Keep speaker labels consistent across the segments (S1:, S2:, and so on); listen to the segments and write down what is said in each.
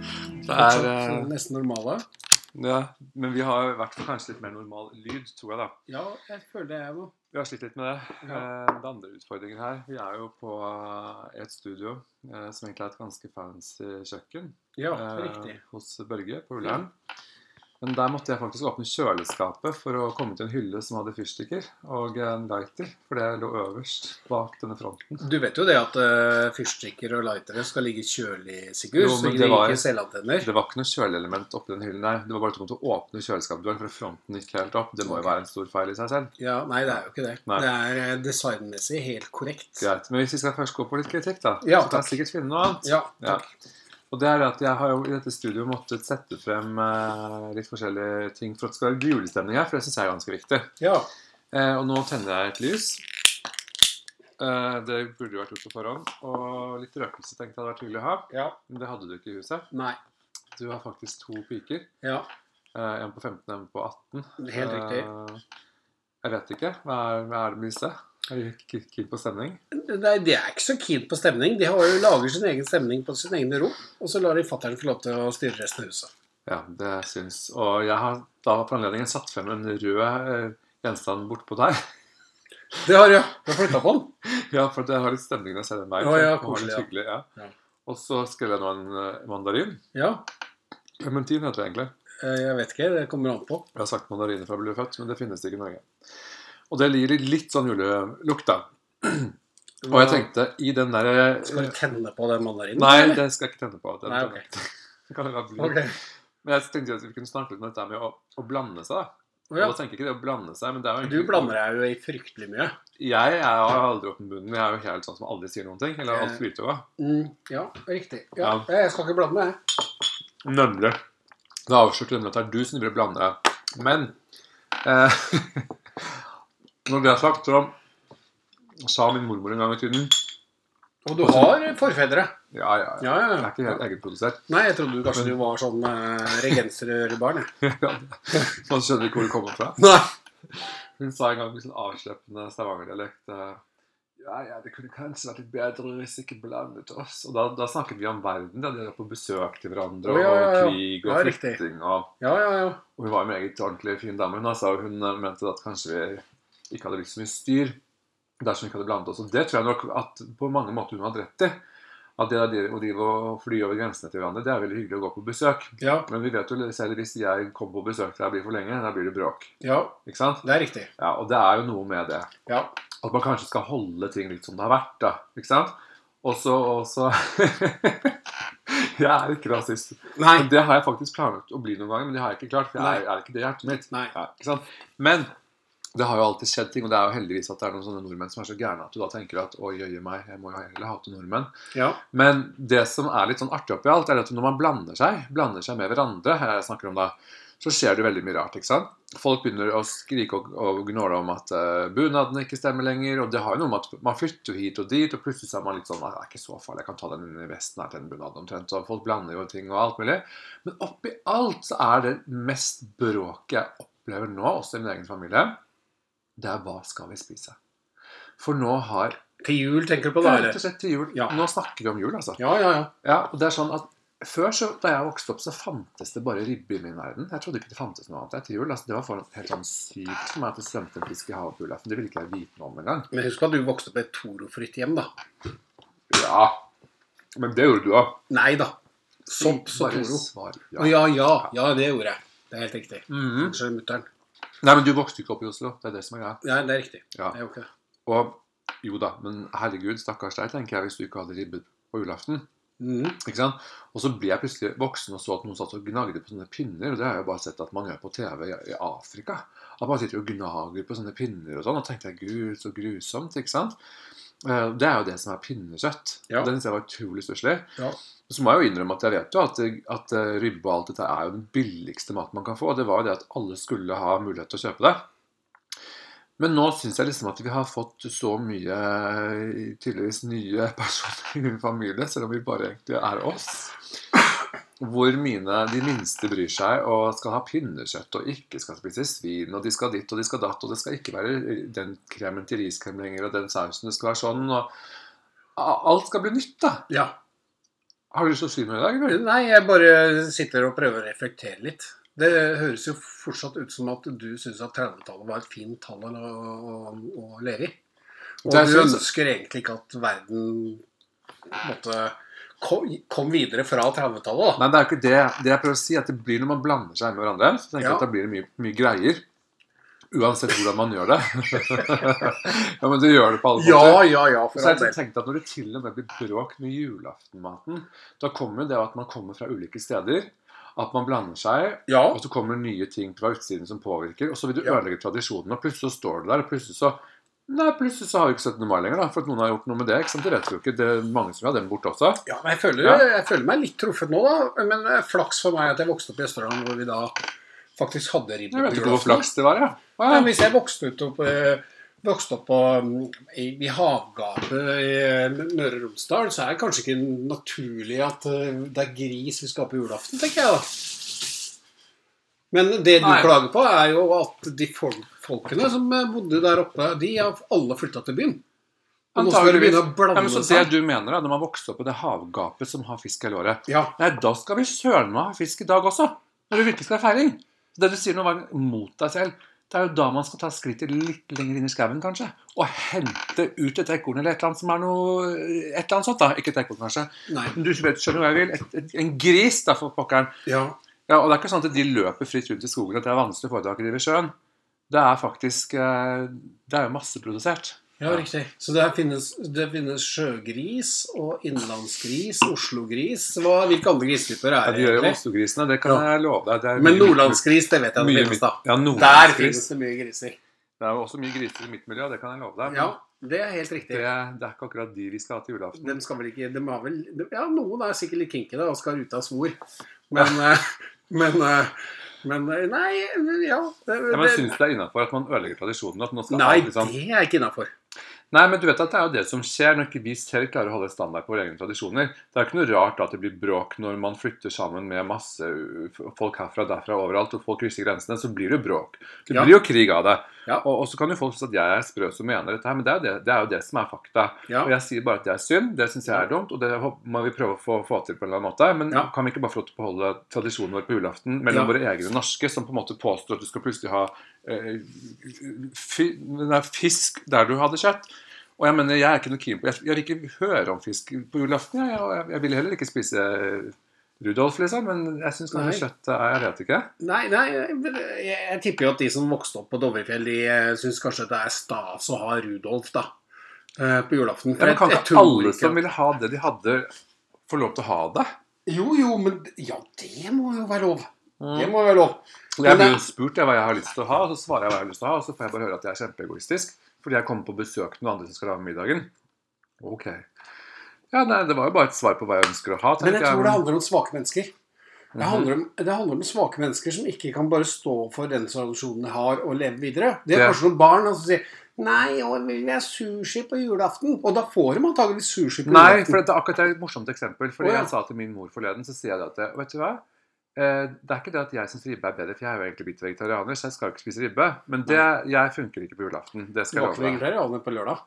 S1: er
S2: fortsatt
S1: eh,
S2: nesten normale.
S1: Ja, men vi har i hvert fall kanskje litt mer normal lyd, tror jeg, da.
S2: Ja, jeg føler det, jeg òg.
S1: Vi har slitt litt med det.
S2: Ja.
S1: Eh, Det er andre utfordringen her Vi er jo på eh, et studio eh, som egentlig er et ganske fancy kjøkken
S2: Ja,
S1: eh,
S2: riktig.
S1: hos Børge på Ullern. Men der måtte jeg faktisk åpne kjøleskapet for å komme til en hylle som hadde fyrstikker og en lighter, for det lå øverst bak denne fronten.
S2: Du vet jo det at eh, fyrstikker og lightere skal ligge kjølig, Sigurd.
S1: Jo,
S2: så
S1: men
S2: ikke
S1: det
S2: det
S1: var-
S2: ikke selvantenner.
S1: Det var ikke noe kjøleelement oppi den hyllen der. Det var bare at du kom til å åpne kjøleskapsdøren, for fronten gikk helt opp. Det må jo være en stor feil i seg selv.
S2: Ja, nei, det er jo ikke det.
S1: Nei.
S2: Det er eh, designmessig helt korrekt.
S1: Greit. Men hvis vi skal først gå på litt kritikk, da,
S2: Ja,
S1: så
S2: takk.
S1: kan jeg sikkert finne noe annet.
S2: Ja, takk.
S1: Og det er det at jeg har jo i dette studioet måttet sette frem eh, litt forskjellige ting for at det skal være julestemning her, for det syns jeg er ganske viktig.
S2: Ja.
S1: Eh, og nå tenner jeg et lys. Eh, det burde jo vært gjort på forhånd. Og litt røkelse tenkte jeg hadde vært hyggelig å ha.
S2: ja.
S1: Men det hadde du ikke i huset.
S2: Nei.
S1: Du har faktisk to piker.
S2: Ja,
S1: Eh, en på 15 og en på 18.
S2: helt riktig.
S1: Eh, jeg vet ikke. Hva er, hva er det med disse? Er de ikke keen på stemning?
S2: Nei, De er ikke så keen på stemning. De har jo lager sin egen stemning på sine egne rom, og så lar de fatter'n få lov til å styre resten av huset.
S1: Ja, det syns. Og jeg har da for anledningen satt frem en rød eh, gjenstand bortpå der.
S2: Det har de jo. Du har flytta på den.
S1: Ja, for det har litt stemning når jeg ser den veien.
S2: Å, ja,
S1: og har det
S2: koselig, ja.
S1: hyggelig, ja.
S2: Ja.
S1: Og så skrev jeg nå en eh, mandarin.
S2: Ja,
S1: Clementin heter det egentlig.
S2: eh, jeg vet ikke. Det kommer an på.
S1: Jeg har sagt mandariner fra jeg ble født, men det finnes ikke i Norge. Og det gir litt sånn julelukt, da. Og jeg tenkte i den derre
S2: Skal du tenne på den mandarinen?
S1: Nei,
S2: eller?
S1: det skal jeg ikke tenne på. Den
S2: Nei, ok.
S1: kan jeg la bli.
S2: Ok.
S1: Men jeg tenkte at vi kunne snakke litt om dette med å, å blande seg. da.
S2: Å ja.
S1: Og da tenker jeg ikke det å blande seg, men det er
S2: Du
S1: jo egentlig-
S2: blander deg jo i fryktelig mye.
S1: Jeg er jo aldri åpen munnen. Jeg er jo helt sånn som aldri sier noen ting. Eller alt
S2: Eh.
S1: flyter over.
S2: Mm, ja, riktig. Ja,
S1: Ja.
S2: Jeg skal ikke blande meg, jeg.
S1: Nemlig. Da avslørte du nemlig at det er du som driver og blander deg. Men eh, Når det er sagt, så sa min mormor en gang i tiden
S2: Og du har forfedre.
S1: Ja, ja, ja.
S2: Ja,
S1: Jeg er
S2: ja,
S1: ikke
S2: ja.
S1: helt egenprodusert.
S2: Nei, jeg trodde du kanskje du var sånn eh, regenserørbarn. jeg.
S1: Man skjønner ikke hvor det kommer fra.
S2: Nei.
S1: Hun sa en gang med sånn avsleppende stavangerdialekt eh, ja, ja, det kunne kanskje vært litt bedre hvis ikke blandet oss. Og da, da snakket vi om verden. Da. De var på besøk til hverandre,
S2: Å, ja, ja, ja.
S1: og krig og
S2: Ja, riktig.
S1: flytting og
S2: Ja, ja, ja.
S1: Og hun var en meget ordentlig fin dame. Hun, altså, hun eh, mente at kanskje vi ikke hadde blitt så mye styr dersom vi ikke hadde blandet oss. Og det tror jeg nok at på mange måter hun hadde rett i. At det der å drive og fly over grensene til hverandre, det er veldig hyggelig å gå på besøk.
S2: Ja,
S1: Men vi vet jo selv hvis jeg kommer på besøk til deg og blir for lenge, da blir det bråk.
S2: ja.
S1: Ikke sant?
S2: Det er riktig.
S1: Ja, Og det er jo noe med det.
S2: Ja.
S1: At man kanskje skal holde ting litt som det har vært, da. Ikke sant? Og så og så- Jeg er ikke rasist.
S2: Nei.
S1: Men det har jeg faktisk planlagt å bli noen ganger, men det har jeg ikke klart. For jeg er, er ikke det i hjertet mitt.
S2: Nei.
S1: Ja, ikke sant? Men det har jo alltid skjedd ting, og det er jo heldigvis at det er noen sånne nordmenn som er så gærne at du da tenker at å jøye meg, jeg må jo heller hate nordmenn.
S2: Ja.
S1: Men det som er litt sånn artig oppi alt, er at når man blander seg, blander seg med hverandre, her jeg snakker om da, så skjer det veldig mye rart, ikke sant? Folk begynner å skrike og, og gnåle om at uh, bunadene ikke stemmer lenger, og det har jo noe med at man flytter jo hit og dit, og plutselig så er man litt sånn, «Nei, det er ikke så farlig, jeg kan ta den vesten her til den bunaden omtrent, og folk blander jo ting og alt mulig. Men oppi alt så er det mest bråket jeg opplever nå, også i min egen familie, det er hva skal vi spise? For nå har,
S2: Til jul tenker du på det,
S1: rett og
S2: eller?
S1: slett til jul,
S2: Ja.
S1: nå snakker vi om jul altså.
S2: Ja, ja, ja.
S1: Ja, og det er sånn at før, så, da jeg vokste opp, så fantes det bare ribbe i min verden. Jeg trodde ikke det fantes noe annet. Til jul, altså, det var for, helt sånn sykt for meg at det svømte en fisk i havet på julaften. Det ville ikke jeg vite noe om engang.
S2: Men husk at du vokste opp i et torofritt hjem, da.
S1: Ja, men det gjorde du òg.
S2: Nei da. Sopp så toro.
S1: svar.
S2: Å
S1: Ja.
S2: ja, ja. Ja, det gjorde jeg. Det er helt riktig.
S1: Mhm.
S2: Unnskyld mutter'n.
S1: Nei, men du vokste ikke opp i Oslo. Det er det som er greia.
S2: Nei, det er riktig.
S1: Ja.
S2: Jeg gjorde ikke det.
S1: Og jo da, men herregud, stakkars deg, tenker jeg, hvis du ikke hadde ribbe på julaften.
S2: Mhm.
S1: Ikke sant? Og så ble jeg plutselig voksen og så at noen satt og gnagde på sånne pinner. Og det har jeg jo bare sett at man gjør på TV i i Afrika. At man sitter og gnager på sånne pinner og sånn. Og tenkte jeg, gud, så grusomt. ikke sant? Eh, Det er jo det som er pinnekjøtt.
S2: Ja.
S1: Det syns jeg var utrolig stusslig.
S2: Ja.
S1: Og Så må jeg jo innrømme at jeg vet jo at, at eh, ribbe og alt dette er jo den billigste maten man kan få. Og det var jo det at alle skulle ha mulighet til å kjøpe det. Men nå syns jeg liksom at vi har fått så mye eh, tydeligvis nye personer i min familie, selv om vi bare egentlig er oss. Hvor mine, de minste bryr seg og skal ha pinnekjøtt og ikke skal spise svin. Og de skal ditt og de skal datt, og det skal ikke være eh, den kremen til riskrem lenger, og den sausen det skal være sånn. og a- Alt skal bli nytt, da.
S2: ja.
S1: Har du lyst til å si noe i dag, eller?
S2: Nei, jeg bare sitter og prøver å reflektere litt. Det høres jo fortsatt ut som at du syns at 30-tallet var et fint tall å, å, å leve i. Og
S1: Det er
S2: du
S1: sant.
S2: ønsker egentlig ikke at verden på en måte, kom, kom videre fra 30-tallet. da.
S1: Nei, det er jo ikke det. Det jeg prøver å si, er at det blir når man blander seg med hverandre, så tenker jeg
S2: Ja.
S1: at da blir det mye, mye greier. Uansett hvordan man gjør det. ja, men du gjør det på alle
S2: Ja, ja, ja. For
S1: Så
S2: all
S1: jeg
S2: del.
S1: tenkte at når det til og med blir bråk med julaftenmaten, da kommer jo det at man kommer fra ulike steder, at man blander seg,
S2: Ja,
S1: og så kommer nye ting fra utsiden som påvirker, og så vil du
S2: Ja.
S1: ødelegge tradisjonen, og plutselig så står du der, og plutselig så Nei, plutselig så har vi ikke 17. mai lenger, da, for at noen har gjort noe med det. ikke sant? Det vet vi jo ikke. Det er mange som vil ha den bort også.
S2: ja men jeg føler,
S1: Ja.
S2: jeg føler meg litt truffet nå, da. Men eh, flaks for meg at jeg vokste opp i Østerdalen, hvor vi da faktisk hadde ribbe på
S1: Jeg vet ikke hvor
S2: julaften.
S1: flaks det var, ja. Å,
S2: Ja,
S1: ja.
S2: men hvis jeg vokste ut opp, eh, vokste opp på, mm, i, i havgapet i eh, Møre og Romsdal, så er det kanskje ikke naturlig at eh, det er gris vi skal ha på julaften, tenker jeg da. Men det du
S1: Nei.
S2: klager på, er jo at de fol folkene som eh, bodde der oppe, de har alle flytta til byen. Og nå skal de
S1: Antageligvis.
S2: begynne å blande
S1: Ja, men sånn så det
S2: seg.
S1: du mener, da, når man vokser opp i det havgapet som har fisk i låret
S2: Ja,
S1: Nei, da skal vi søren meg ha fisk i dag også. Når det virkelig skal være feiring. Så Det du sier nå, var mot deg selv. Det er jo da man skal ta skrittet litt lenger inn i skauen, kanskje. Og hente ut et ekorn eller et eller annet som er noe Et eller annet sånt, da. Ikke et ekorn, kanskje.
S2: nei.
S1: Men du vet, skjønner hva jeg vil. Et, et, en gris, da, for pokkeren.
S2: Ja.
S1: Ja, og det er ikke sånn at de løper fritt rundt i skogen, at det er vanskelig å få tak i det ved sjøen. Det er faktisk eh, Det er jo masseprodusert.
S2: Ja, riktig. Så det finnes, det finnes sjøgris og innlandsgris, oslogris Hva, Hvilke andre gristyper
S1: Ja,
S2: er
S1: de gjør jo Oslo-grisene, det kan
S2: Ja.
S1: jeg love deg. Det er
S2: Men
S1: mye-
S2: nordlandsgris, det vet jeg det
S1: mye-
S2: finnes, da.
S1: Ja,
S2: Der
S1: nordlandsgris.
S2: finnes det mye griser.
S1: Det er jo også mye griser i mitt miljø, det kan jeg love deg. men
S2: Ja, det er helt
S1: Det,
S2: riktig.
S1: det er ikke akkurat de vi skal ha til julaften.
S2: De skal vel ikke de har vel, de, Ja, noen er sikkert litt kinky da, og skal ut av svor. Men, eh, men, eh, men eh, Nei, ja. Det,
S1: Ja, men
S2: det,
S1: syns det er innafor at man ødelegger tradisjonen? At nå skal
S2: nei,
S1: alle liksom...
S2: det er ikke innafor.
S1: nei, men du vet at det er jo det som skjer når ikke vi selv klarer å holde standard på våre egne tradisjoner. Det er jo ikke noe rart da at det blir bråk når man flytter sammen med masse uh, folk herfra og derfra overalt, og folk krysser grensene. Så blir det jo bråk. Det
S2: Ja.
S1: blir jo krig av det.
S2: Ja.
S1: Og, og så kan jo folk synes at jeg er sprø som mener dette her, men det er jo det, det, er jo det som er fakta.
S2: Ja.
S1: Og jeg sier bare at det er synd, det syns jeg er dumt, og det hå- må vi prøve å få, få til på en eller annen måte. Men
S2: Ja.
S1: kan vi ikke bare få lov til å beholde tradisjonen vår på julaften mellom
S2: Ja.
S1: våre egne norske, som på en måte påstår at du skal plutselig ha eh, fi, nei, fisk der du hadde kjøtt? Og jeg mener, jeg er ikke noe keen på Jeg, jeg vil ikke høre om fisk på julaften. Jeg, og jeg, jeg vil heller ikke spise eh, Rudolf, liksom, men jeg syns kanskje
S2: Nei.
S1: kjøttet er Jeg vet ikke.
S2: Nei, nei men eh, jeg, jeg tipper jo at de som vokste opp på Dovrefjell, de eh, syns kanskje at det er stas å ha Rudolf da, eh, på julaften.
S1: Ja,
S2: For
S1: men kan
S2: jeg- jeg
S1: ikke
S2: tror
S1: alle
S2: ikke at-
S1: som ville ha det de hadde, få lov til å ha det?
S2: Jo, jo, men Ja, det må jo være lov.
S1: Mm.
S2: Det må jo være lov.
S1: Jeg
S2: Men
S1: blir
S2: det-
S1: jo spurt jeg, hva jeg har lyst til å ha, og så svarer jeg hva jeg har lyst til å ha, og så får jeg bare høre at jeg er kjempeegoistisk fordi jeg kommer på besøk til noen andre som skal ha middagen. Ok. Ja, nei, det var jo bare et svar på hva jeg ønsker å ha.
S2: Men jeg
S1: tenker
S2: tror det handler om svake mennesker.
S1: um, Mhm.
S2: Det handler om, det handler om svake mennesker som ikke kan bare stå for den tradisjonen de har, og leve videre. Det er
S1: Ja.
S2: kanskje noen barn som sier 'Nei, og vi vil ha sushi på julaften.' Og da får de antakeligvis sushi på
S1: Nei,
S2: julaften.
S1: for det er akkurat et morsomt eksempel. Fordi
S2: Å, ja.
S1: jeg sa til min mor forleden, så sier jeg det at jeg- Vet du hva? Eh, Det er ikke det at jeg syns ribbe er bedre, for jeg er jo egentlig blitt vegetarianer, så jeg skal jo ikke spise ribbe. Men det, jeg funker ikke på julaften. Det
S2: det
S1: skal
S2: var ikke
S1: jeg love deg.
S2: vegetarianer på lørdag.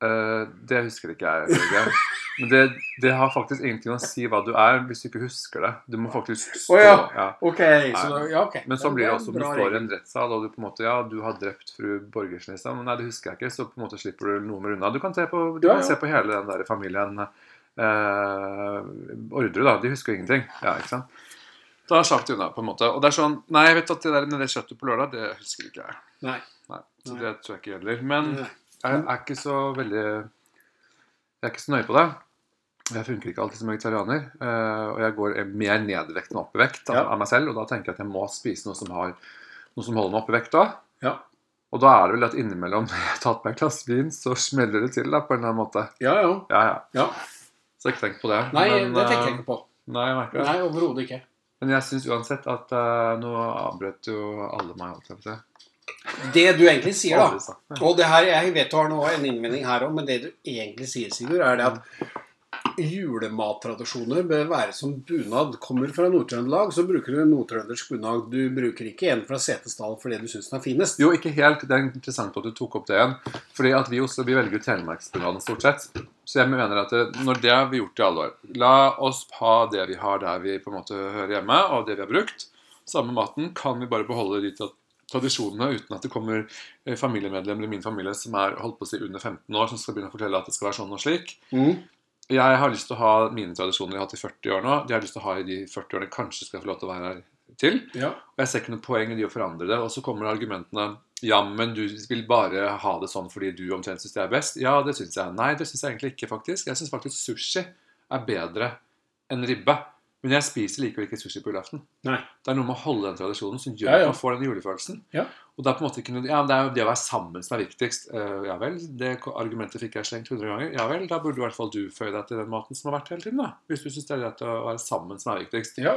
S1: Eh, det husker ikke jeg. Jørgen. Men det, det har faktisk ingenting å si hva du er, hvis du ikke husker det. Du må faktisk stå.
S2: Å, ja.
S1: Ja.
S2: Ok, så, ja, ok.
S1: Men sånn blir det
S2: er en
S1: også om du
S2: bra
S1: står i
S2: regel.
S1: en rettssal og du på en måte, ja, du har drept fru Borgersen liksom. Nei, det husker jeg ikke, så på en måte slipper du noe med unna. Du kan se på, du
S2: Ja,
S1: kan
S2: ja.
S1: se på hele den der familien eh, Ordre, da. De husker jo ingenting. Ja, ikke sant? Da slapp de unna, på en måte. Og det er sånn Nei, jeg vet at det der med det kjøttet på lørdag, det husker ikke jeg.
S2: Nei.
S1: Nei, så
S2: Nei.
S1: det tror jeg ikke gjelder. Men
S2: Nei.
S1: jeg
S2: Mm.
S1: er ikke så veldig Jeg er ikke så nøye på det. Jeg funker ikke alltid som vegetarianer. eh, Og jeg går mer ned i vekt enn opp i vekt av
S2: Ja.
S1: av meg selv. Og da tenker jeg at jeg må spise noe som, har, noe som holder meg oppe i vekt da.
S2: Ja.
S1: Og da er det vel at innimellom når jeg har tatt meg et glass vin, så smeller det til da, på en eller annen måte.
S2: Ja, ja.
S1: Ja, ja.
S2: ja.
S1: Så ikke tenk på det.
S2: Nei,
S1: Men,
S2: det tenker jeg
S1: eh,
S2: ikke på.
S1: Nei, jeg merker det.
S2: Nei, overhodet ikke.
S1: Men jeg syns uansett at eh, Nå avbrøt jo alle meg. Alt, jeg vil si.
S2: Det du egentlig sier, da
S1: Aldri sagt det.
S2: Og det her, jeg vet du har nå en innvending her òg, men det du egentlig sier, Sigurd, er det at julemattradisjoner bør være som bunad. Kommer fra Nord-Trøndelag, så bruker du nordtrøndersk bunad. Du bruker ikke en fra Setesdal fordi du syns den er finest.
S1: Jo, ikke helt. Det er interessant at du tok opp det igjen. Fordi at vi i Oslo vi velger jo telemarksbunaden stort sett. Så jeg mener at det, når det har vi gjort i alle år La oss ha det vi har der vi på en måte hører hjemme, og det vi har brukt. Samme maten kan vi bare beholde de tra- tradisjonene uten at det kommer eh, familiemedlemmer i min familie som er holdt på å si under 15 år, som skal begynne å fortelle at det skal være sånn og slik.
S2: Mm.
S1: Jeg har lyst til å ha mine tradisjoner jeg har hatt i 40 år nå. De har jeg lyst til å ha i de 40 årene jeg kanskje skal få lov til å være her til.
S2: Ja.
S1: Og jeg ser ikke noe poeng i de å forandre det. Og så kommer argumentene Ja, men du vil bare ha det sånn fordi du omtrent syns det er best. Ja, det syns jeg. Nei, det syns jeg egentlig ikke, faktisk. Jeg syns faktisk sushi er bedre enn ribbe. Men jeg spiser likevel ikke sushi på julaften.
S2: Nei.
S1: Det er noe med å holde den tradisjonen som gjør
S2: Ja, ja.
S1: at man får den julefølelsen.
S2: Ja.
S1: Og det er på en måte ikke noe, ja, det er jo det å være sammen som er viktigst. Eh, ja vel, det ko- argumentet fikk jeg slengt 100 ganger. Ja vel, da burde i hvert fall du føye deg til den maten som har vært hele tiden, da. Hvis du syns det er rett å være sammen som er viktigst.
S2: ja.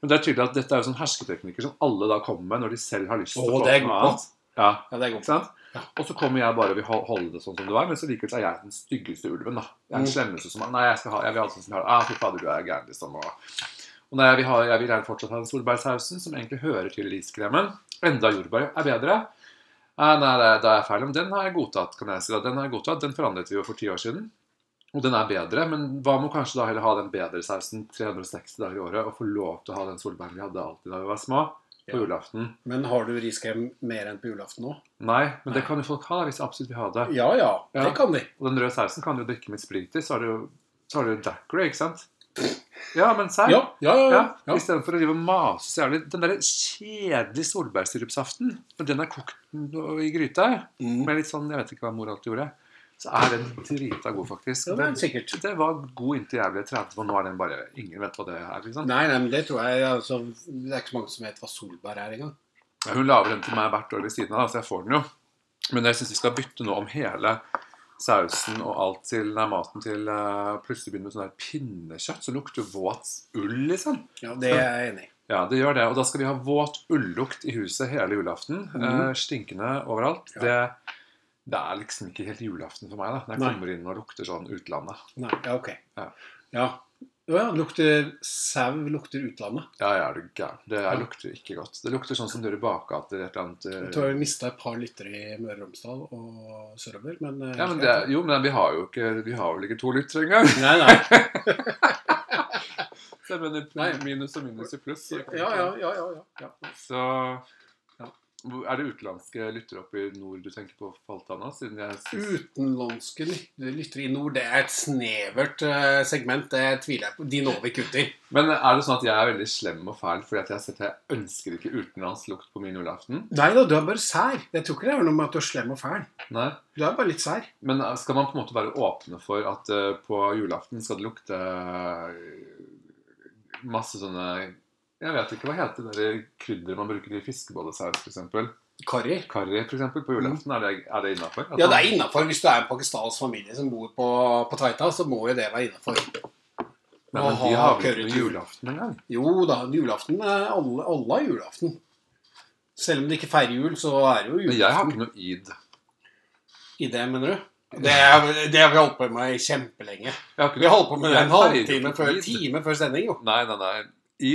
S1: Men det er tydelig at dette er jo sånne hersketeknikker som alle da kommer med når de selv har lyst til
S2: Å,
S1: å
S2: det er
S1: få noe
S2: godt.
S1: annet. Ja,
S2: Ja, det er
S1: ikke
S2: godt.
S1: sant?
S2: Ja.
S1: Og så kommer jeg bare og vil hol- holde det sånn som det var, men så likevel så er jeg den styggeste ulven. da. Jeg
S2: Mm.
S1: er den slemmeste som er Nei, jeg, skal ha, jeg vil ha det sånn som jeg har det. Ah, fy fader, du er gæren, liksom. Og, og nei, jeg, vil ha, jeg vil gjerne fortsatt ha den solbærsausen, som egentlig hører til riskremen. Enda jordbær er bedre. Nei, nei, det, det er feil. Men den har jeg godtatt, kan jeg si. da. Den har jeg godtatt. Den forandret vi jo for ti år siden. Og den er bedre, men hva med å kanskje da heller ha den bedre sausen 360 dager i året, og få lov til å ha den solbæren vi hadde alltid da vi var små,
S2: Ja.
S1: på julaften?
S2: Men har du riskrem mer enn på julaften nå?
S1: Nei, men det
S2: Nei.
S1: kan jo folk ha da, hvis de absolutt vil ha det.
S2: Ja, ja,
S1: Ja.
S2: Det kan de.
S1: Og den røde sausen kan du jo drikke med et sprit i, så har du jo så har du jo daiquiri, ikke sant? Ja, men serr?
S2: Ja, ja, ja.
S1: Ja,
S2: ja. ja.
S1: Istedenfor å drive og mase så jævlig. Den derre kjedelige solbærsirupsaften, når den er kokt nå i gryta,
S2: Mm.
S1: med litt sånn Jeg vet ikke hva mor alltid gjorde, så er den drita god, faktisk.
S2: Ja, men
S1: Den,
S2: sikkert.
S1: det var god inntil jeg ble 30, og nå er den bare Ingen vet hva det er, liksom.
S2: Nei, nei, men det tror jeg altså, Det er ikke så mange som vet hva solbær er engang.
S1: Ja, Hun lager den til meg hvert år ved siden av, da, så jeg får den jo. Men jeg syns vi skal bytte nå om hele sausen og alt til nei, maten til eh, Plutselig begynner med sånn der pinnekjøtt som lukter våt ull, liksom.
S2: Ja, det er jeg enig i.
S1: Ja, det gjør det. Og da skal vi ha våt ullukt i huset hele julaften.
S2: Mhm.
S1: eh, stinkende overalt.
S2: Ja.
S1: Det, det er liksom ikke helt julaften for meg, da. Når jeg
S2: Nei.
S1: kommer inn og lukter sånn utlandet.
S2: Nei, ja, ok.
S1: Ja.
S2: Ja. Å ja, lukter sau lukter utlandet.
S1: Ja, ja, er du gæren. Det er- lukter ikke godt. Det lukter sånn som dere bakgater et eller annet eh,
S2: Jeg tror jeg mista et par lyttere i Møre og Romsdal og sørover, men eh,
S1: ja, men det, er- Jo, men vi har jo ikke Vi har vel ikke to lyttere engang.
S2: Nei, nei.
S1: Så jeg mener
S2: Nei.
S1: minus og minus i pluss. så-
S2: Ja, ja, ja. ja, ja. ja.
S1: Så ja. Hvor- Er det utenlandske lyttere oppe i nord du tenker på for alt annet? Siden jeg synes,
S2: Utenlandske lyt- lyttere i nord, det er et snevert eh, segment. Det tviler jeg på. De når vi ikke ut i.
S1: Men er det sånn at jeg er veldig slem og fæl fordi at jeg har sett at jeg ønsker ikke utenlandsk lukt på min julaften?
S2: Nei da, du er bare sær. Jeg tror ikke det er noe med at du er slem og fæl.
S1: Nei.
S2: Du er bare litt sær.
S1: Men eh, skal man på en måte være åpne for at eh, på julaften skal det lukte eh, masse sånne Jeg vet ikke hva heter det der krydderet man bruker i fiskebollesaus, f.eks.
S2: Karri.
S1: Karri, for eksempel, på julaften. Er det, er det innafor?
S2: Ja, det er innafor. Hvis du er en pakistansk familie som bor på, på Taita, så må jo det være innafor.
S1: Nei, men de
S2: Aha,
S1: har vel ikke
S2: currytur.
S1: noe julaften engang?
S2: Jo da, julaften er alle, alle har julaften. Selv om de ikke feirer jul, så er det jo
S1: Men jeg har
S2: julaften
S1: ikke noe id.
S2: i det, mener du? Det, er, det har vi holdt på med i kjempelenge.
S1: Jeg har ikke
S2: Vi har holdt på med det
S1: Jeg
S2: en
S1: feirer ikke
S2: halvtime
S1: på
S2: før,
S1: id.
S2: time før sending, jo.
S1: Nei, nei, nei.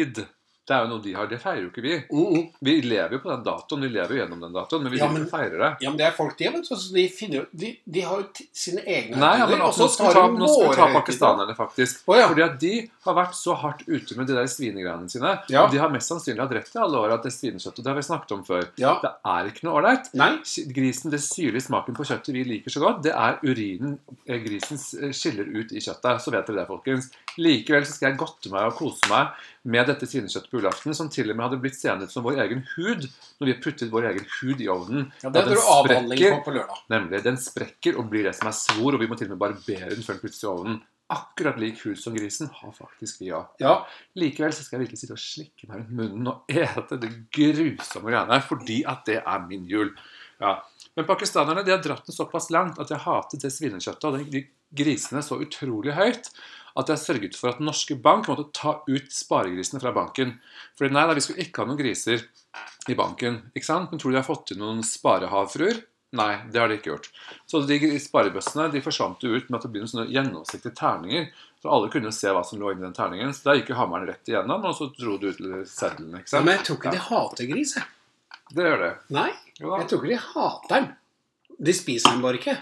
S1: Id. Det er jo noe de har. Det feirer jo ikke vi.
S2: Mm, mm.
S1: Vi lever jo på den datoen. Vi lever jo gjennom den datoen, men vi
S2: Ja,
S1: vil
S2: men-
S1: ikke feire det.
S2: Ja, men det er folk, de, vet du. Så de, finner, jo- de, de har jo t sine egne
S1: Nei, ja, men
S2: og
S1: altså,
S2: så
S1: nå skal vi
S2: tar
S1: ta,
S2: de
S1: nå skal vi ta
S2: våre høytider.
S1: pakistanerne, faktisk.
S2: Å, ja.
S1: Fordi at de har vært så hardt ute med de der svinegreiene sine.
S2: Ja.
S1: Og de har mest sannsynlig hatt rett i alle år at det svinekjøttet det har vi snakket om før.
S2: Ja.
S1: Det er ikke noe ålreit.
S2: Nei?
S1: Grisen, Det syrlige smaken på kjøttet vi liker så godt, det er urinen eh, grisen eh, skiller ut i kjøttet. Så vet dere det, folkens. Likevel så skal jeg godte meg og kose meg med dette svinekjøttet på julaften, som til og med hadde blitt seende ut som vår egen hud når vi har puttet vår egen hud i ovnen.
S2: Ja,
S1: At
S2: det
S1: den
S2: hadde du avhandling på
S1: sprekker-
S2: på lørdag.
S1: Nemlig, den sprekker og blir det som er svor, og vi må til og med barbere den før den puttes i ovnen. Akkurat lik hud som grisen har faktisk vi òg.
S2: Ja.
S1: Likevel så skal jeg virkelig sitte og slikke meg rundt munnen og ete det grusomme greiene her, fordi at det er min jul. Ja. Men pakistanerne de har dratt den såpass langt at jeg hatet det svinekjøttet og de- de grisene så utrolig høyt at jeg sørget for at Norske Bank måtte ta ut sparegrisene fra banken. Fordi nei da, vi skulle ikke ha noen griser i banken, ikke sant? Men tror du de har fått inn noen sparehavfruer? Nei, det har de ikke gjort. Så de gri- sparebøssene de forsvant jo ut med at det ble noen sånne gjennomsiktige terninger. Så alle kunne jo se hva som lå inni den terningen. Så der gikk jo hammeren rett igjennom, og så dro det ut seddelen. ikke
S2: Ja,
S1: sant?
S2: men jeg tror ikke de hater gris, jeg.
S1: Det gjør det.
S2: Nei,
S1: Jo da.
S2: jeg tror ikke de hater den. De spiser den bare ikke.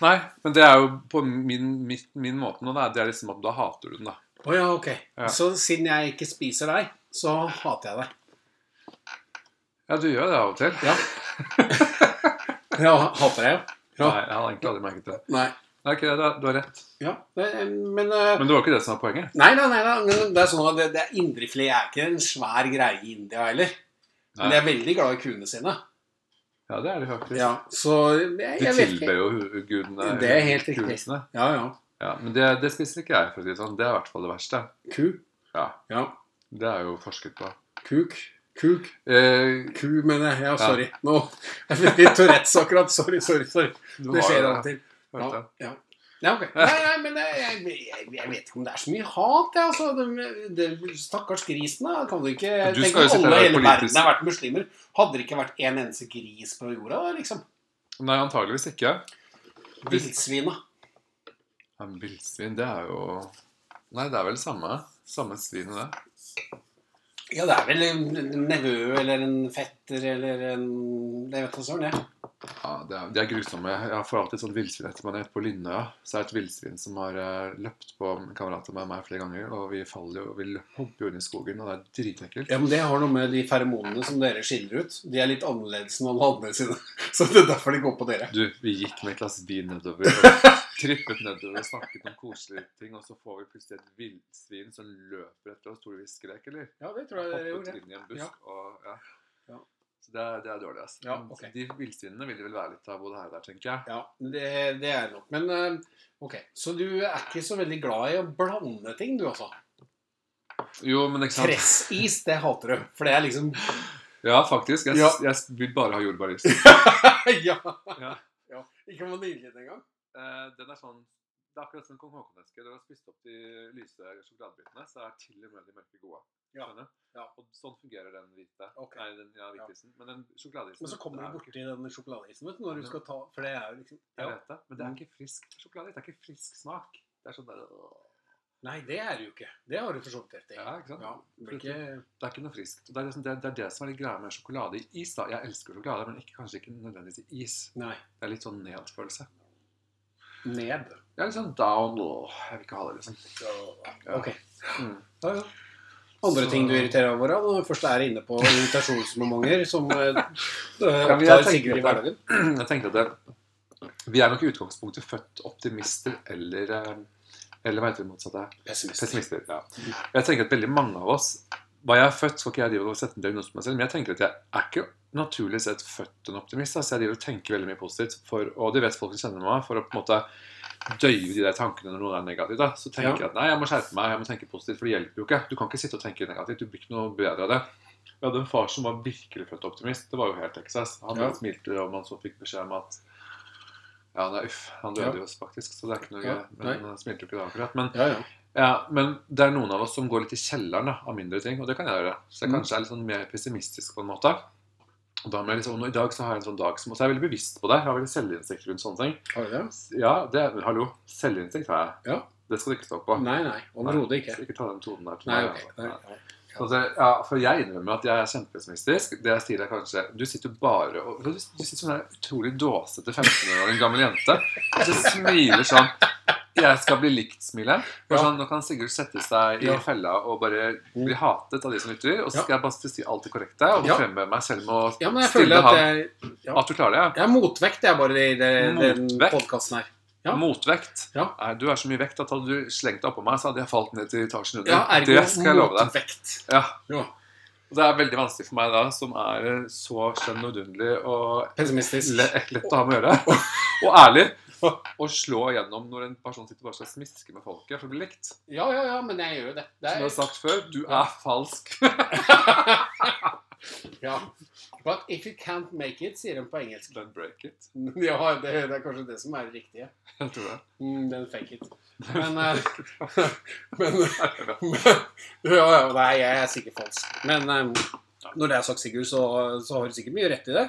S1: Nei, men det er jo på min, min, min måte nå. Da. Det er liksom at da hater du den, da.
S2: Å ja, ok.
S1: Ja.
S2: Så siden jeg ikke spiser deg, så hater jeg deg.
S1: Ja, du gjør det av og til.
S2: Ja. ja, hater jeg, ja. Ja.
S1: Nei, jeg hadde egentlig aldri merket det.
S2: Nei.
S1: Nei, ok, du har- du har rett.
S2: Ja, det, men eh,
S1: Men det var ikke det som var poenget.
S2: Nei, nei, nei, nei. Men det er sånn at det, det er indrefilet er ikke en svær greie i India heller. Men de
S1: Nei.
S2: er veldig glad i kuene sine.
S1: Ja, det er det faktisk.
S2: Ja, så jeg,
S1: De
S2: jeg vet
S1: tilber
S2: ikke.
S1: jo hu- gudene.
S2: Det er helt riktig.
S1: kulesene.
S2: Ja, ja.
S1: Ja, men det, det spiser ikke jeg, for å si det sånn. Det er i hvert fall det verste.
S2: Ku.
S1: Ja,
S2: Ja.
S1: det er jo forsket på.
S2: Kuk. Kuk.
S1: Eh,
S2: Ku, mener jeg. Ja, sorry. Nå, jeg fikk litt Tourettes akkurat. Sorry, sorry. sorry.
S1: du
S2: Det
S1: har
S2: skjer
S1: jo
S2: av og til.
S1: vet du.
S2: Ja, ja ok. Nei, nei, men jeg, jeg, jeg, jeg vet ikke om det er så mye hat, jeg. Altså. Det, det, stakkars grisen, da. Kan du ikke
S1: Men du
S2: Tenk
S1: skal jo
S2: om
S1: sitte
S2: alle
S1: her
S2: i hele
S1: politisk.
S2: verden har vært muslimer. Hadde det ikke vært en eneste gris på jorda, da, liksom?
S1: Nei, antageligvis ikke. Hvis-
S2: Villsvin, da.
S1: Ja, men Villsvin, det er jo Nei, det er vel samme. Samme svin, det.
S2: Ja, det er vel en en nevø eller en fetter eller en Jeg vet da søren, jeg.
S1: Ja, det er, de er grusomme. Jeg får alltid sånn villsvin etter meg når jeg er på Linnøya. Så er det et villsvin som har eh, løpt på kamerater med meg flere ganger, og vi faller jo, og vi løp- hopper jo inn i skogen, og det er dritekkelt.
S2: Ja, men Det har noe med de feromonene som dere skiller ut. De er litt annerledes enn alle andre sine. Så det er derfor de går på dere.
S1: Du, vi gikk med et glass vin nedover, og trippet nedover og snakket om koselige ting, og så får vi plutselig et villsvin som løper etter oss. Tror du vi skrek, eller?
S2: Ja, det tror jeg dere
S1: Hoppet
S2: gjorde.
S1: inn i en busk,
S2: Ja.
S1: og ja.
S2: Ja.
S1: Så det er, det er dårlig, altså.
S2: Ja, ok.
S1: De villsvinene vil vel være litt av både her og der, tenker jeg.
S2: Ja, det, det er det nok. Men eh, ok, så du er ikke så veldig glad i å blande ting, du altså.
S1: Jo, men ikke sant.
S2: Pressis, det hater du. For det er liksom
S1: Ja, faktisk. Jeg,
S2: Ja.
S1: jeg vil bare ha jordbærlyst.
S2: ja.
S1: Ja.
S2: ja. Ikke vaniljen engang.
S1: Eh, den er sånn Det er akkurat som en kong Haakon-eske. Når du har spist opp de lyse sjokoladebitene, så er til og med de mørke gode.
S2: Ja.
S1: Skjønner du?
S2: Ja.
S1: Og sånn fungerer den hvite.
S2: Ok.
S1: Nei, den ja, hvitisen. Men den sjokoladeisen
S2: Men så kommer
S1: den
S2: du
S1: er jo ikke-
S2: borti den sjokoladeisen vet du, når du skal ta For det er jo liksom
S1: Jeg
S2: ja.
S1: vet det. Men det er ikke frisk sjokolade. Det er ikke frisk smak. Det er sånn der,
S2: Nei, det er det jo ikke. Det har du for så vidt rett i.
S1: ja, ikke sant?
S2: Ja, det er ikke...
S1: Det er ikke noe friskt. Og Det er, liksom, det, det er det som er litt greia med sjokolade i is. da. Jeg elsker sjokolade, men ikke, kanskje ikke nødvendigvis i is.
S2: Nei.
S1: Det er litt sånn nedfølelse.
S2: Ned.
S1: Jeg er litt sånn down. åh, Jeg vil ikke ha det, liksom. Ja.
S2: Ok.
S1: Mm.
S2: Ja, ja. Andre
S1: Så-
S2: ting du irriterer deg over, da, når du først er inne på irritasjonsmomenter som eh,
S1: men jeg
S2: opptar
S1: tenker
S2: Sigrid i
S1: at-
S2: hverdagen?
S1: Jeg tenkte at det, vi er nok i utgangspunktet født optimister eller eh, Eller hva heter det motsatte?
S2: Pessimister.
S1: Pessimister. ja. Jeg tenker at veldig mange av oss Hva jeg er født, skal ikke jeg drive og sette en diagnose på meg selv, men jeg tenker at jeg er ikke naturlig sett født en optimist. Altså jeg driver og tenker veldig mye positivt, for, og det vet folk som kjenner meg, for å på en måte døyve de der tankene når noen er negativ. Da. Så tenker
S2: Ja.
S1: jeg at nei, jeg må skjerpe meg, jeg må tenke positivt, for det hjelper jo ikke. Du kan ikke sitte og tenke negativt. Du blir ikke noe bedre av det. Jeg hadde en far som var virkelig født optimist. Det var jo helt Texas. Han
S2: Ja.
S1: smilte, og man så fikk beskjed om at ja, nei, uff, han døde
S2: Ja.
S1: jo faktisk, så det er ikke noe
S2: Ja,
S1: gøy. Men
S2: nei.
S1: han smilte jo ikke da akkurat. Men,
S2: Ja, ja.
S1: ja, men det er noen av oss som går litt i kjelleren da, av mindre ting, og det kan jeg gjøre. Så jeg
S2: Mm.
S1: kanskje er litt sånn mer pessimistisk på en måte. Og da må jeg liksom, og I dag så har jeg en sånn dag som også er veldig bevisst på det. Jeg har veldig selvinnsikt rundt sånne ting.
S2: Har du det?
S1: Ja, det, hallo, selvinnsikt har jeg.
S2: Ja.
S1: Det skal du ikke stå på.
S2: Nei, nei. Overhodet ikke.
S1: Så ikke ta den tonen der til
S2: Nei,
S1: meg,
S2: ok.
S1: altså.
S2: Nei.
S1: Nei. Så det, ja, for jeg innrømmer at jeg er kjempepessimistisk. Det jeg sier er kanskje Du sitter bare og Du, du sitter som en utrolig dåsete 15 år gammel jente og så smiler sånn 'Jeg skal bli likt'-smilet.
S2: Ja.
S1: Sånn, nå kan Sigurd sette seg i
S2: Ja. Mm.
S1: fella og bare bli hatet av de som lytter, og så
S2: Ja.
S1: skal jeg bare si alt det korrekte og
S2: Ja.
S1: fremheve meg selv med å
S2: Ja, men jeg
S1: Stille
S2: føler
S1: hav.
S2: at jeg,
S1: At du klarer det.
S2: jeg er motvekt, jeg, bare i det, den
S1: Motvekt?
S2: podkasten her.
S1: ja.
S2: Ja.
S1: Motvekt.
S2: Ja.
S1: Nei, Du er så mye vekt at hadde du slengt deg oppå meg, så hadde jeg falt ned til etasjen under.
S2: Ja, ergo
S1: det skal jeg love deg.
S2: motvekt.
S1: Ja.
S2: Ja.
S1: Og det er veldig vanskelig for meg da, som er eh, så skjønn og vidunderlig og
S2: Pessimistisk.
S1: le- lett å ha med å gjøre. Og ærlig. Å slå igjennom når en person sitter bare og skal smiske med folket for å bli likt.
S2: Ja, ja, ja, men jeg gjør jo det. det
S1: Som du har
S2: er,
S1: sagt før, du er falsk.
S2: ja. But if you can't make it, sier de på engelsk.
S1: Then break it.
S2: Ja, det, det er kanskje det som er det riktige.
S1: Jeg tror det.
S2: Mm, den fake it. Men, eh, men
S1: Ja.
S2: ja, ja, Nei, jeg er sikkert falsk. Men eh, når det er sagt, Sigurd, så, så har du sikkert mye rett i det.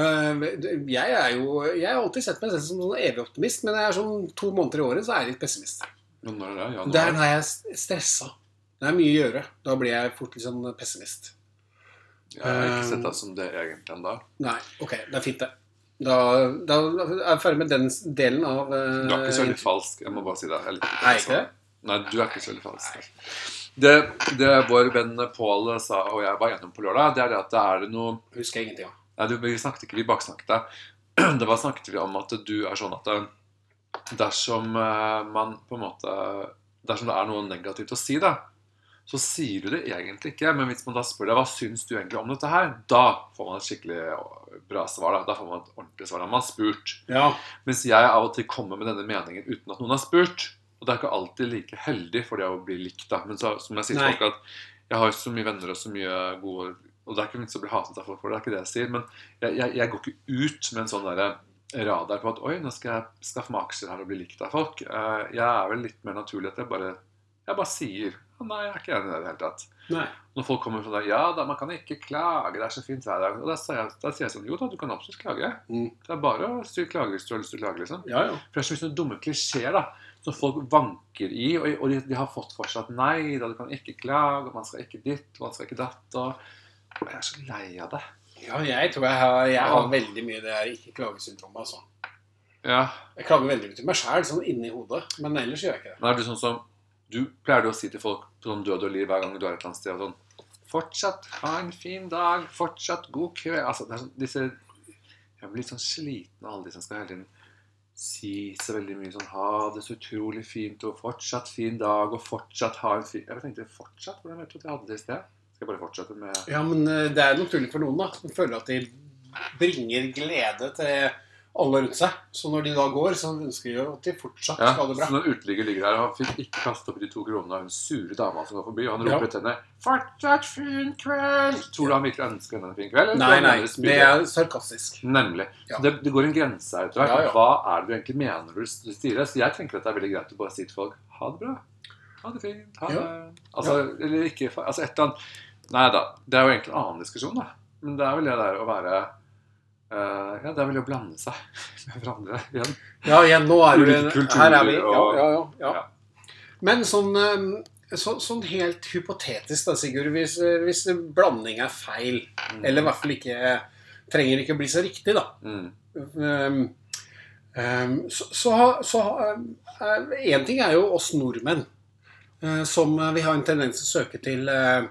S2: Eh, jeg er jo Jeg har alltid sett meg selv som sånn evig optimist, men jeg er sånn to måneder i året så er jeg litt pessimist.
S1: Men når er det?
S2: Det er
S1: Januar?
S2: når jeg er s- stressa. Det er mye å gjøre. Da blir jeg fort litt sånn pessimist. eh,
S1: Jeg har ikke sett deg som det egentlig ennå.
S2: Nei, ok, det er fint, det. Da, da er jeg ferdig med den s- delen av eh,
S1: Du er ikke så veldig falsk. Jeg må bare si det. Jeg liker
S2: Er jeg ikke det?
S1: Nei, du er ikke så veldig falsk. altså. Det, det vår venn Pål sa, og jeg var gjennom på lørdag, det er det at det er noe
S2: Husker jeg ingenting av.
S1: Nei, du, vi snakket ikke, vi baksnakket deg. Det var snakket vi om at du er sånn at eh, dersom eh, man på en måte Dersom det er noe negativt å si, da, så sier du det egentlig ikke. Men hvis man da spør deg hva syns du egentlig om dette her, da får man et skikkelig eh, bra svar. Da, da får man et ordentlig svar. Da har man spurt.
S2: Ja.
S1: Mens jeg av og til kommer med denne meningen uten at noen har spurt. Og det er ikke alltid like heldig for det å bli likt, da. Men så, som jeg sier
S2: Nei.
S1: til folk, at jeg har jo så mye venner og så mye gode Og det er ikke vits å bli hatet av folk for det, det er ikke det jeg sier. Men jeg, jeg, jeg går ikke ut med en sånn derre radar på at oi, nå skal jeg skaffe meg aksjer her og bli likt av folk. Eh, Jeg er vel litt mer naturlig at jeg bare, jeg bare sier «Å, nei, jeg er ikke enig i det i det hele tatt.
S2: Nei.
S1: Når folk kommer sånn der, ja da, man kan ikke klage, det er så fint vær i dag. Og da sier jeg, da sier jeg sånn, jo da, du kan absolutt klage.
S2: Mm.
S1: Det er bare å styre klage hvis du har lyst til å klage, liksom.
S2: Ja, ja.
S1: For det er så mye sånne dumme klisjeer da, som folk vanker i, og, og de, de har fått for seg at nei da, du kan ikke klage, og man skal ikke ditt, og man skal ikke datt, og og jeg er så lei av det.
S2: ja jeg tror jeg har, jeg
S1: Ja.
S2: har veldig mye det her ikke-klagesyndromet, altså.
S1: Ja.
S2: Jeg klager veldig mye til meg sjæl, sånn inni hodet. Men ellers gjør jeg ikke det.
S1: Men er du sånn som, du pleier du å si til folk på sånn død og liv hver gang du er et eller annet sted, og sånn, fortsatt ha en fin dag, fortsatt god kveld. Altså, det er sånn, disse, jeg blir litt sånn sliten av alle de som skal hele tiden si så veldig mye sånn, ha det så utrolig fint, og fortsatt fin dag, og fortsatt ha en fin, jeg tenkte, fortsatt, hvordan vet du at jeg hadde det i sted? Skal jeg bare fortsette med...
S2: Ja, men eh, det er naturlig for noen, da. De føler at de bringer glede til alle rundt seg. Så når de da går, så ønsker de jo at de fortsatt
S1: Ja,
S2: skal ha det
S1: så
S2: bra.
S1: når uteligger ligger der, og han fikk ikke kastet opp de to kronene av hun sure dama som går forbi, og han
S2: Ja.
S1: roper etter henne 'Fortsatt fin kveld!' Tror du han virkelig ønsker henne en fin kveld? eller tror
S2: Nei,
S1: han
S2: nei.
S1: mener spydig?
S2: Det er sarkastisk.
S1: Nemlig.
S2: Ja.
S1: Så det, det går en grense her etter hvert.
S2: Ja, ja.
S1: Hva er det du egentlig mener du styrer? Så jeg tenker at det er veldig greit å bare si til folk 'Ha det bra. Ha det fint. Ha
S2: Ja.
S1: det Altså, eller ikke fa- Altså et eller annet Nei da. Det er jo egentlig en annen diskusjon, da. Men det er vel det der å være eh, Ja, det er vel det å blande seg med hverandre igjen.
S2: Ja, igjen, nå er vi
S1: Ulike kulturer
S2: Her er vi. Ja,
S1: og-
S2: ja, ja, ja. Men sånn, eh, så, sånn helt hypotetisk da, Sigurd, hvis, eh, hvis blanding er feil, eller i hvert fall ikke trenger ikke å bli så riktig, da.
S1: Mm.
S2: Um, um, så så, ha- så ha- um, eh, En ting er jo oss nordmenn, eh, som eh, vi har en tendens til å søke til eh,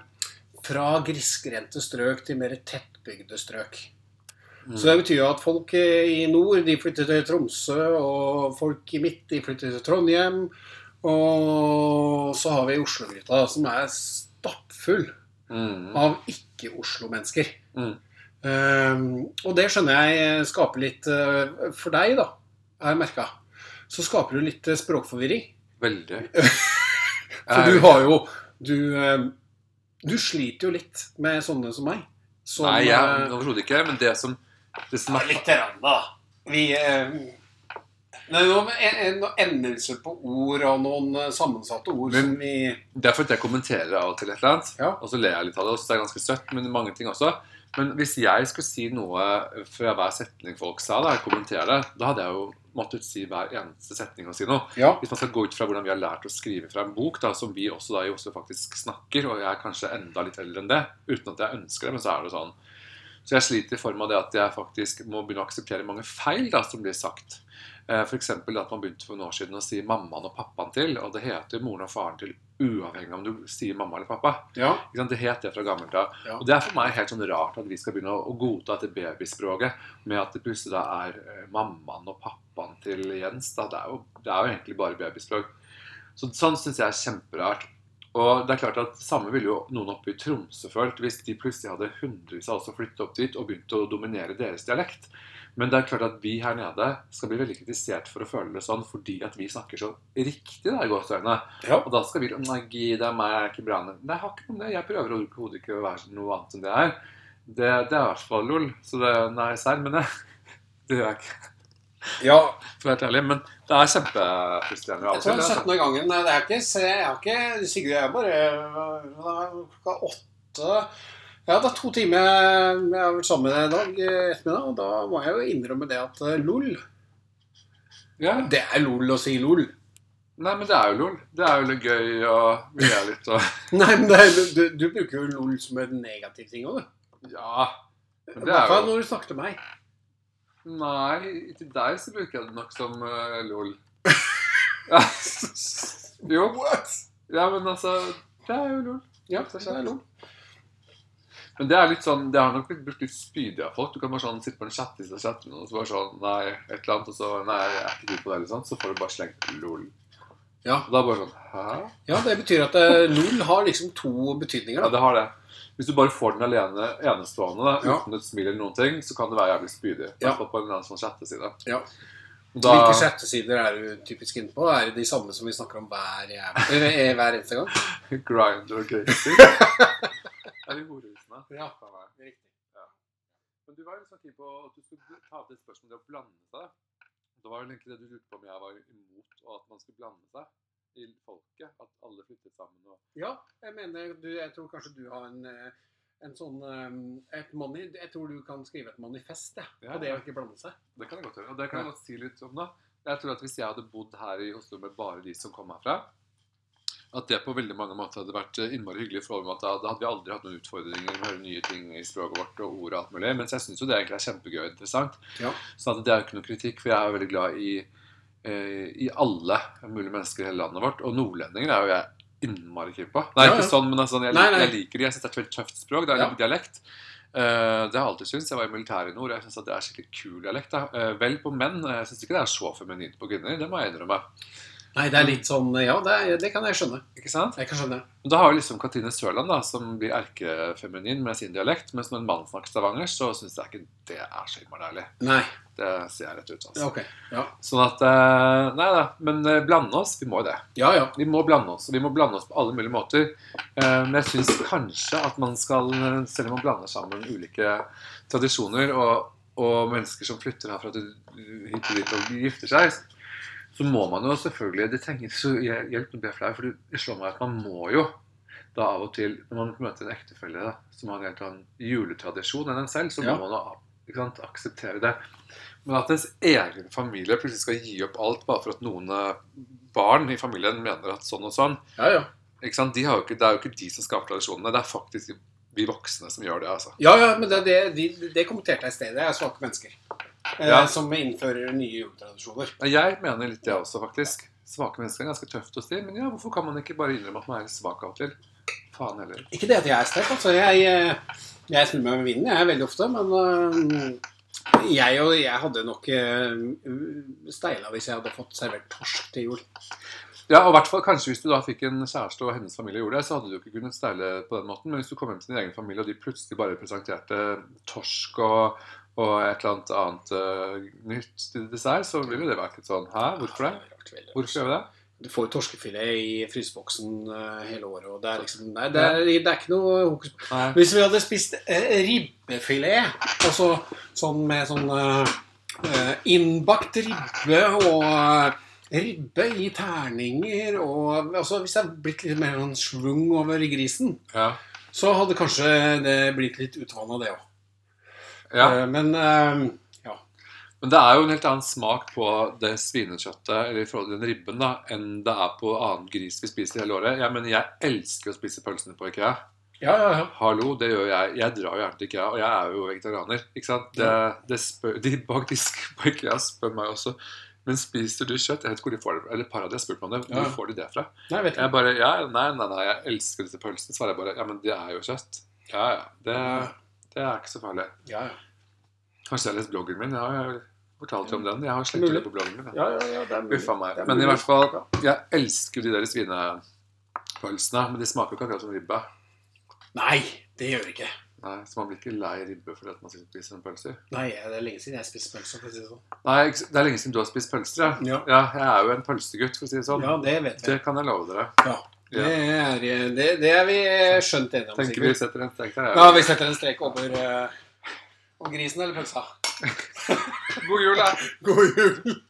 S2: fra grisgrendte strøk til mer tettbygde strøk. Så det betyr jo at folk eh, i nord de flytter til Tromsø, og folk i midt de flytter til Trondheim. Og så har vi Oslo-gryta, som er stappfull
S1: Mm.
S2: av ikke-Oslo-mennesker.
S1: Mm.
S2: Ehm, og det skjønner jeg skaper litt eh, For deg, da, har jeg merka, så skaper du litt eh, språkforvirring.
S1: Veldig.
S2: For du har jo Du, eh, du sliter jo litt med sånne som meg. Som,
S1: Nei, jeg
S2: eh,
S1: overhodet ikke. Men det som, det som er
S2: Litt rann, da. Vi eh, det er noen en, en, noen endelser på ord og noen eh, sammensatte ord som vi
S1: Det er fordi jeg kommenterer av og til et eller annet,
S2: Ja.
S1: og så ler jeg litt av det. Og så er det ganske søtt, men mange ting også. Men hvis jeg skulle si noe fra hver setning folk sa, da, jeg kommenterer det, da hadde jeg jo måttet si hver eneste setning og si noe.
S2: Ja.
S1: Hvis man skal gå ut fra hvordan vi har lært å skrive fra en bok, da, som vi også da i Oslo faktisk snakker, og jeg er kanskje enda litt eldre enn det, uten at jeg ønsker det, men så er det sånn. Så jeg sliter i form av det at jeg faktisk må begynne å akseptere mange feil da, som blir sagt. F.eks. at man begynte for noen år siden å si mammaen og pappaen til, og det heter moren og faren til uavhengig av om du sier mamma eller pappa.
S2: ja.
S1: Ikke sant? Det het det fra gammelt av.
S2: Ja.
S1: Og det er for meg helt sånn rart at vi skal begynne å å godta dette babyspråket med at det plutselig da er eh, mammaen og pappaen til Jens. Da. Det, er jo, det er jo egentlig bare babyspråk. Så, sånn syns jeg er kjemperart. Og det er klart at Samme ville jo noen oppe i Tromsø følt hvis de plutselig hadde hundrevis av oss og flyttet opp dit og begynt å dominere deres dialekt. Men det er klart at vi her nede skal bli veldig kritisert for å føle det sånn fordi at vi snakker så riktig da i gåseøynene.
S2: ja.
S1: Og da skal vi Nei, gi deg meg, jeg er ikke bra nok. Nei, jeg har ikke noe om det. Jeg prøver overhodet ikke å være noe annet enn det jeg er. Det, det er i hvert fall lol. Så det, nei, serr, men det, det gjør jeg ikke.
S2: ja.
S1: For å være helt ærlig. Men det er kjempefrustrerende. av
S2: Jeg
S1: og
S2: tror det
S1: til,
S2: er
S1: altså.
S2: 17. gangen. Nei, det er ikke, så jeg har ikke Sigurd, jeg er bare øh, det er klokka åtte Ja, det er to timer jeg har vært sammen med deg i dag eh, ettermiddag, og da må jeg jo innrømme det at eh, lol
S1: Ja.
S2: Det er lol å si lol.
S1: Nei, men det er jo lol. Det er jo litt gøy og vi ler litt og
S2: Nei, men det er, du, du bruker jo lol som en negativ ting òg, du.
S1: Ja.
S2: I
S1: Men det
S2: hvert
S1: er
S2: fall
S1: jo
S2: når du snakker til meg.
S1: Nei, til deg så bruker jeg det nok som eh, lol. Ja, jo. Ja, men altså Det er jo lol.
S2: Ja,
S1: det
S2: det
S1: er
S2: er lov.
S1: Men det er litt sånn, det har nok blitt brukt litt spydig av folk. Du kan bare sånn sitte på en chat i stedet chatten, og så bare sånn Nei, et eller annet, og så Nei, jeg er ikke god på det, eller sånn. Så får du bare slengt lol.
S2: Ja.
S1: Og da bare sånn Hæ?
S2: Ja, det betyr at eh, LOL har liksom to betydninger.
S1: Ja,
S2: da.
S1: det har det. Hvis du bare får den alene, enestående da,
S2: Ja.
S1: uten et smil eller noen ting, så kan det være jævlig spydig. I
S2: Ja.
S1: hvert fall på en eller annen sånn chatteside.
S2: Ja.
S1: Og Da,
S2: Hvilke chattesider er du typisk inne på? Er det de samme som vi snakker om hver, jæv- eller, eh, hver eneste gang?
S1: Grinder og gating. er det horehusene?
S2: Ja.
S1: Faen meg. Men du var jo litt sånn keen på at du skulle ta opp det spørsmålet om det å blande seg. Det var jo egentlig det du lurte på om jeg var imot, og at man skulle blande seg i folket. At alle flyttet sammen og
S2: Ja, jeg mener du, Jeg tror kanskje du har en, eh, en sånn eh, et mani, Jeg tror du kan skrive et manifest jeg,
S1: Ja.
S2: på det å ikke blande seg.
S1: Det kan jeg godt gjøre. Og det kan jeg godt si litt om, da. Jeg tror at hvis jeg hadde bodd her i Oslo med bare de som kom herfra, at det på veldig mange måter hadde vært eh, innmari hyggelig. for meg, at Da da hadde vi aldri hatt noen utfordringer med å høre nye ting i språket vårt og ord og alt mulig. Mens jeg syns jo det egentlig er kjempegøy og interessant.
S2: Ja.
S1: Så at det er jo ikke noe kritikk, for jeg er jo veldig glad i, eh, i alle mulige mennesker i hele landet vårt. Og nordlendinger er jo jeg innmari keen på. Det er
S2: Ja,
S1: ikke
S2: ja.
S1: sånn, men altså, jeg,
S2: Nei,
S1: liker-
S2: nei.
S1: jeg liker det. Jeg syns det er et veldig tøft språk. Det er
S2: Ja.
S1: litt dialekt. Eh, det har jeg alltid syntes. Jeg var i militæret i nord. Jeg syns det er skikkelig kul dialekt. Da. Eh, vel på menn. eh, Jeg syns ikke det er så feminint på kvinner. Det må jeg innrømme.
S2: Nei, det er litt sånn eh, Ja, det, er, det kan jeg skjønne.
S1: Ikke sant?
S2: Jeg kan skjønne.
S1: Men da har vi liksom Katrine Sørland, da, som blir erkefeminin med sin dialekt. Mens når en mann snakker stavanger, så syns jeg ikke det er så innmari deilig.
S2: Nei.
S1: Det sier jeg rett ut. altså.
S2: Ok. Ja
S1: Sånn at eh, Nei da. Men eh, blande oss. Vi må jo det.
S2: ja. ja.
S1: Vi må blande oss. og Vi må blande oss på alle mulige måter. Eh, Men jeg syns kanskje at man skal, eh, selv om man blander sammen ulike tradisjoner og, og mennesker som flytter herfra til hit og dit og gifter seg, så må man jo selvfølgelig Det trenger ikke så hjelp, nå blir jeg flau, for det slår meg at man må jo da av og til, når man møter en ektefelle da, som har en helt annen juletradisjon enn en selv, så
S2: Ja.
S1: må man jo ikke sant, akseptere det. Men at ens egen familie plutselig skal gi opp alt bare for at noen eh, barn i familien mener at sånn og sånn
S2: Ja, ja.
S1: ikke sant? De har jo ikke, Det er jo ikke de som skaper tradisjonene, det er faktisk vi voksne som gjør det. altså.
S2: Ja, ja, men det, det, de, det kommenterte jeg i stedet. Det er svake mennesker eh,
S1: Ja.
S2: som innfører nye juletradisjoner.
S1: Nei, Jeg mener litt det også, faktisk. Svake mennesker er ganske tøft hos de, men ja, hvorfor kan man ikke bare innrømme at man er litt svak av og til? Faen heller.
S2: Ikke det at jeg er sterk, altså. Jeg, eh, jeg snur meg med vinden, jeg, veldig ofte. Men eh, jeg, og jeg hadde nok eh, steila hvis jeg hadde fått servert torsk til jul.
S1: Ja, og i hvert fall kanskje Hvis du da fikk en kjæreste og hennes familie gjorde det, så hadde du jo ikke kunnet steile på den måten. Men hvis du kom hjem til din egen familie, og de plutselig bare presenterte torsk og, og et eller annet annet eh, nytt til dessert, så ville jo det vært litt sånn Hæ, hvorfor det?
S2: Ja, det hadde vært veldig rart.
S1: Hvorfor gjør vi det?
S2: Du får torskefilet i fryseboksen eh, hele året, og det er liksom Nei, det er, det er ikke noe hokus pokus.
S1: Nei.
S2: Hvis vi hadde spist eh, ribbefilet, altså sånn med sånn eh, eh, innbakt ribbe og eh, ribbe i terninger og altså Hvis det hadde blitt litt mer sånn schwung over grisen,
S1: Ja.
S2: så hadde kanskje det blitt litt utvanna, det òg.
S1: ja.
S2: Men eh, ja.
S1: Men det er jo en helt annen smak på det svinekjøttet eller i forhold til den ribben da, enn det er på annen gris vi spiser hele året. Jeg mener, jeg elsker å spise pølsene på IKEA.
S2: Ja, ja, ja.
S1: Hallo, det gjør jeg. Jeg drar jo gjerne til IKEA, og jeg er jo vegetarianer. ikke sant? Det, det spør, de bak disk på IKEA spør meg også men spiser du kjøtt? Jeg vet ikke hvor de får det fra. Eller Paradis spurte meg om det. Hvor
S2: Ja.
S1: får de det fra?
S2: Nei, vet
S1: Jeg
S2: jeg.
S1: bare ja, Nei, nei, nei, jeg elsker disse pølsene. Svarer jeg bare. Ja, men det er jo kjøtt. Ja, ja. Det, det er ikke så farlig.
S2: Ja, ja.
S1: Kanskje jeg har lest bloggen min? Jeg har fortalt deg om den. Jeg har slettet
S2: Mulig.
S1: det på bloggen min. jeg.
S2: Ja, ja, ja, det er mulig.
S1: Uffa meg.
S2: Det er
S1: Men i
S2: mulig.
S1: hvert fall, jeg elsker de der svinepølsene. Men de smaker jo ikke akkurat som ribbe.
S2: Nei, det gjør det ikke.
S1: Nei, Så man blir ikke lei ribbe fordi at man sitter og spiser en pølse.
S2: Nei, det er lenge siden jeg spiste pølse. for å si det sånn.
S1: Nei, ikke s- det er lenge siden du har spist pølser, ja.
S2: Ja.
S1: Ja, jeg er jo en pølsegutt, for å si det sånn.
S2: ja, det vet vi.
S1: Det kan jeg love dere.
S2: Ja.
S1: Ja.
S2: Det, er, eh, det, det er vi eh, skjønt enige om.
S1: Tenker vi
S2: sikkert.
S1: setter en strek der.
S2: Ja,
S1: Ja.
S2: vi setter en strek over eh, om grisen eller pølsa.
S1: God jul, da!
S2: God jul!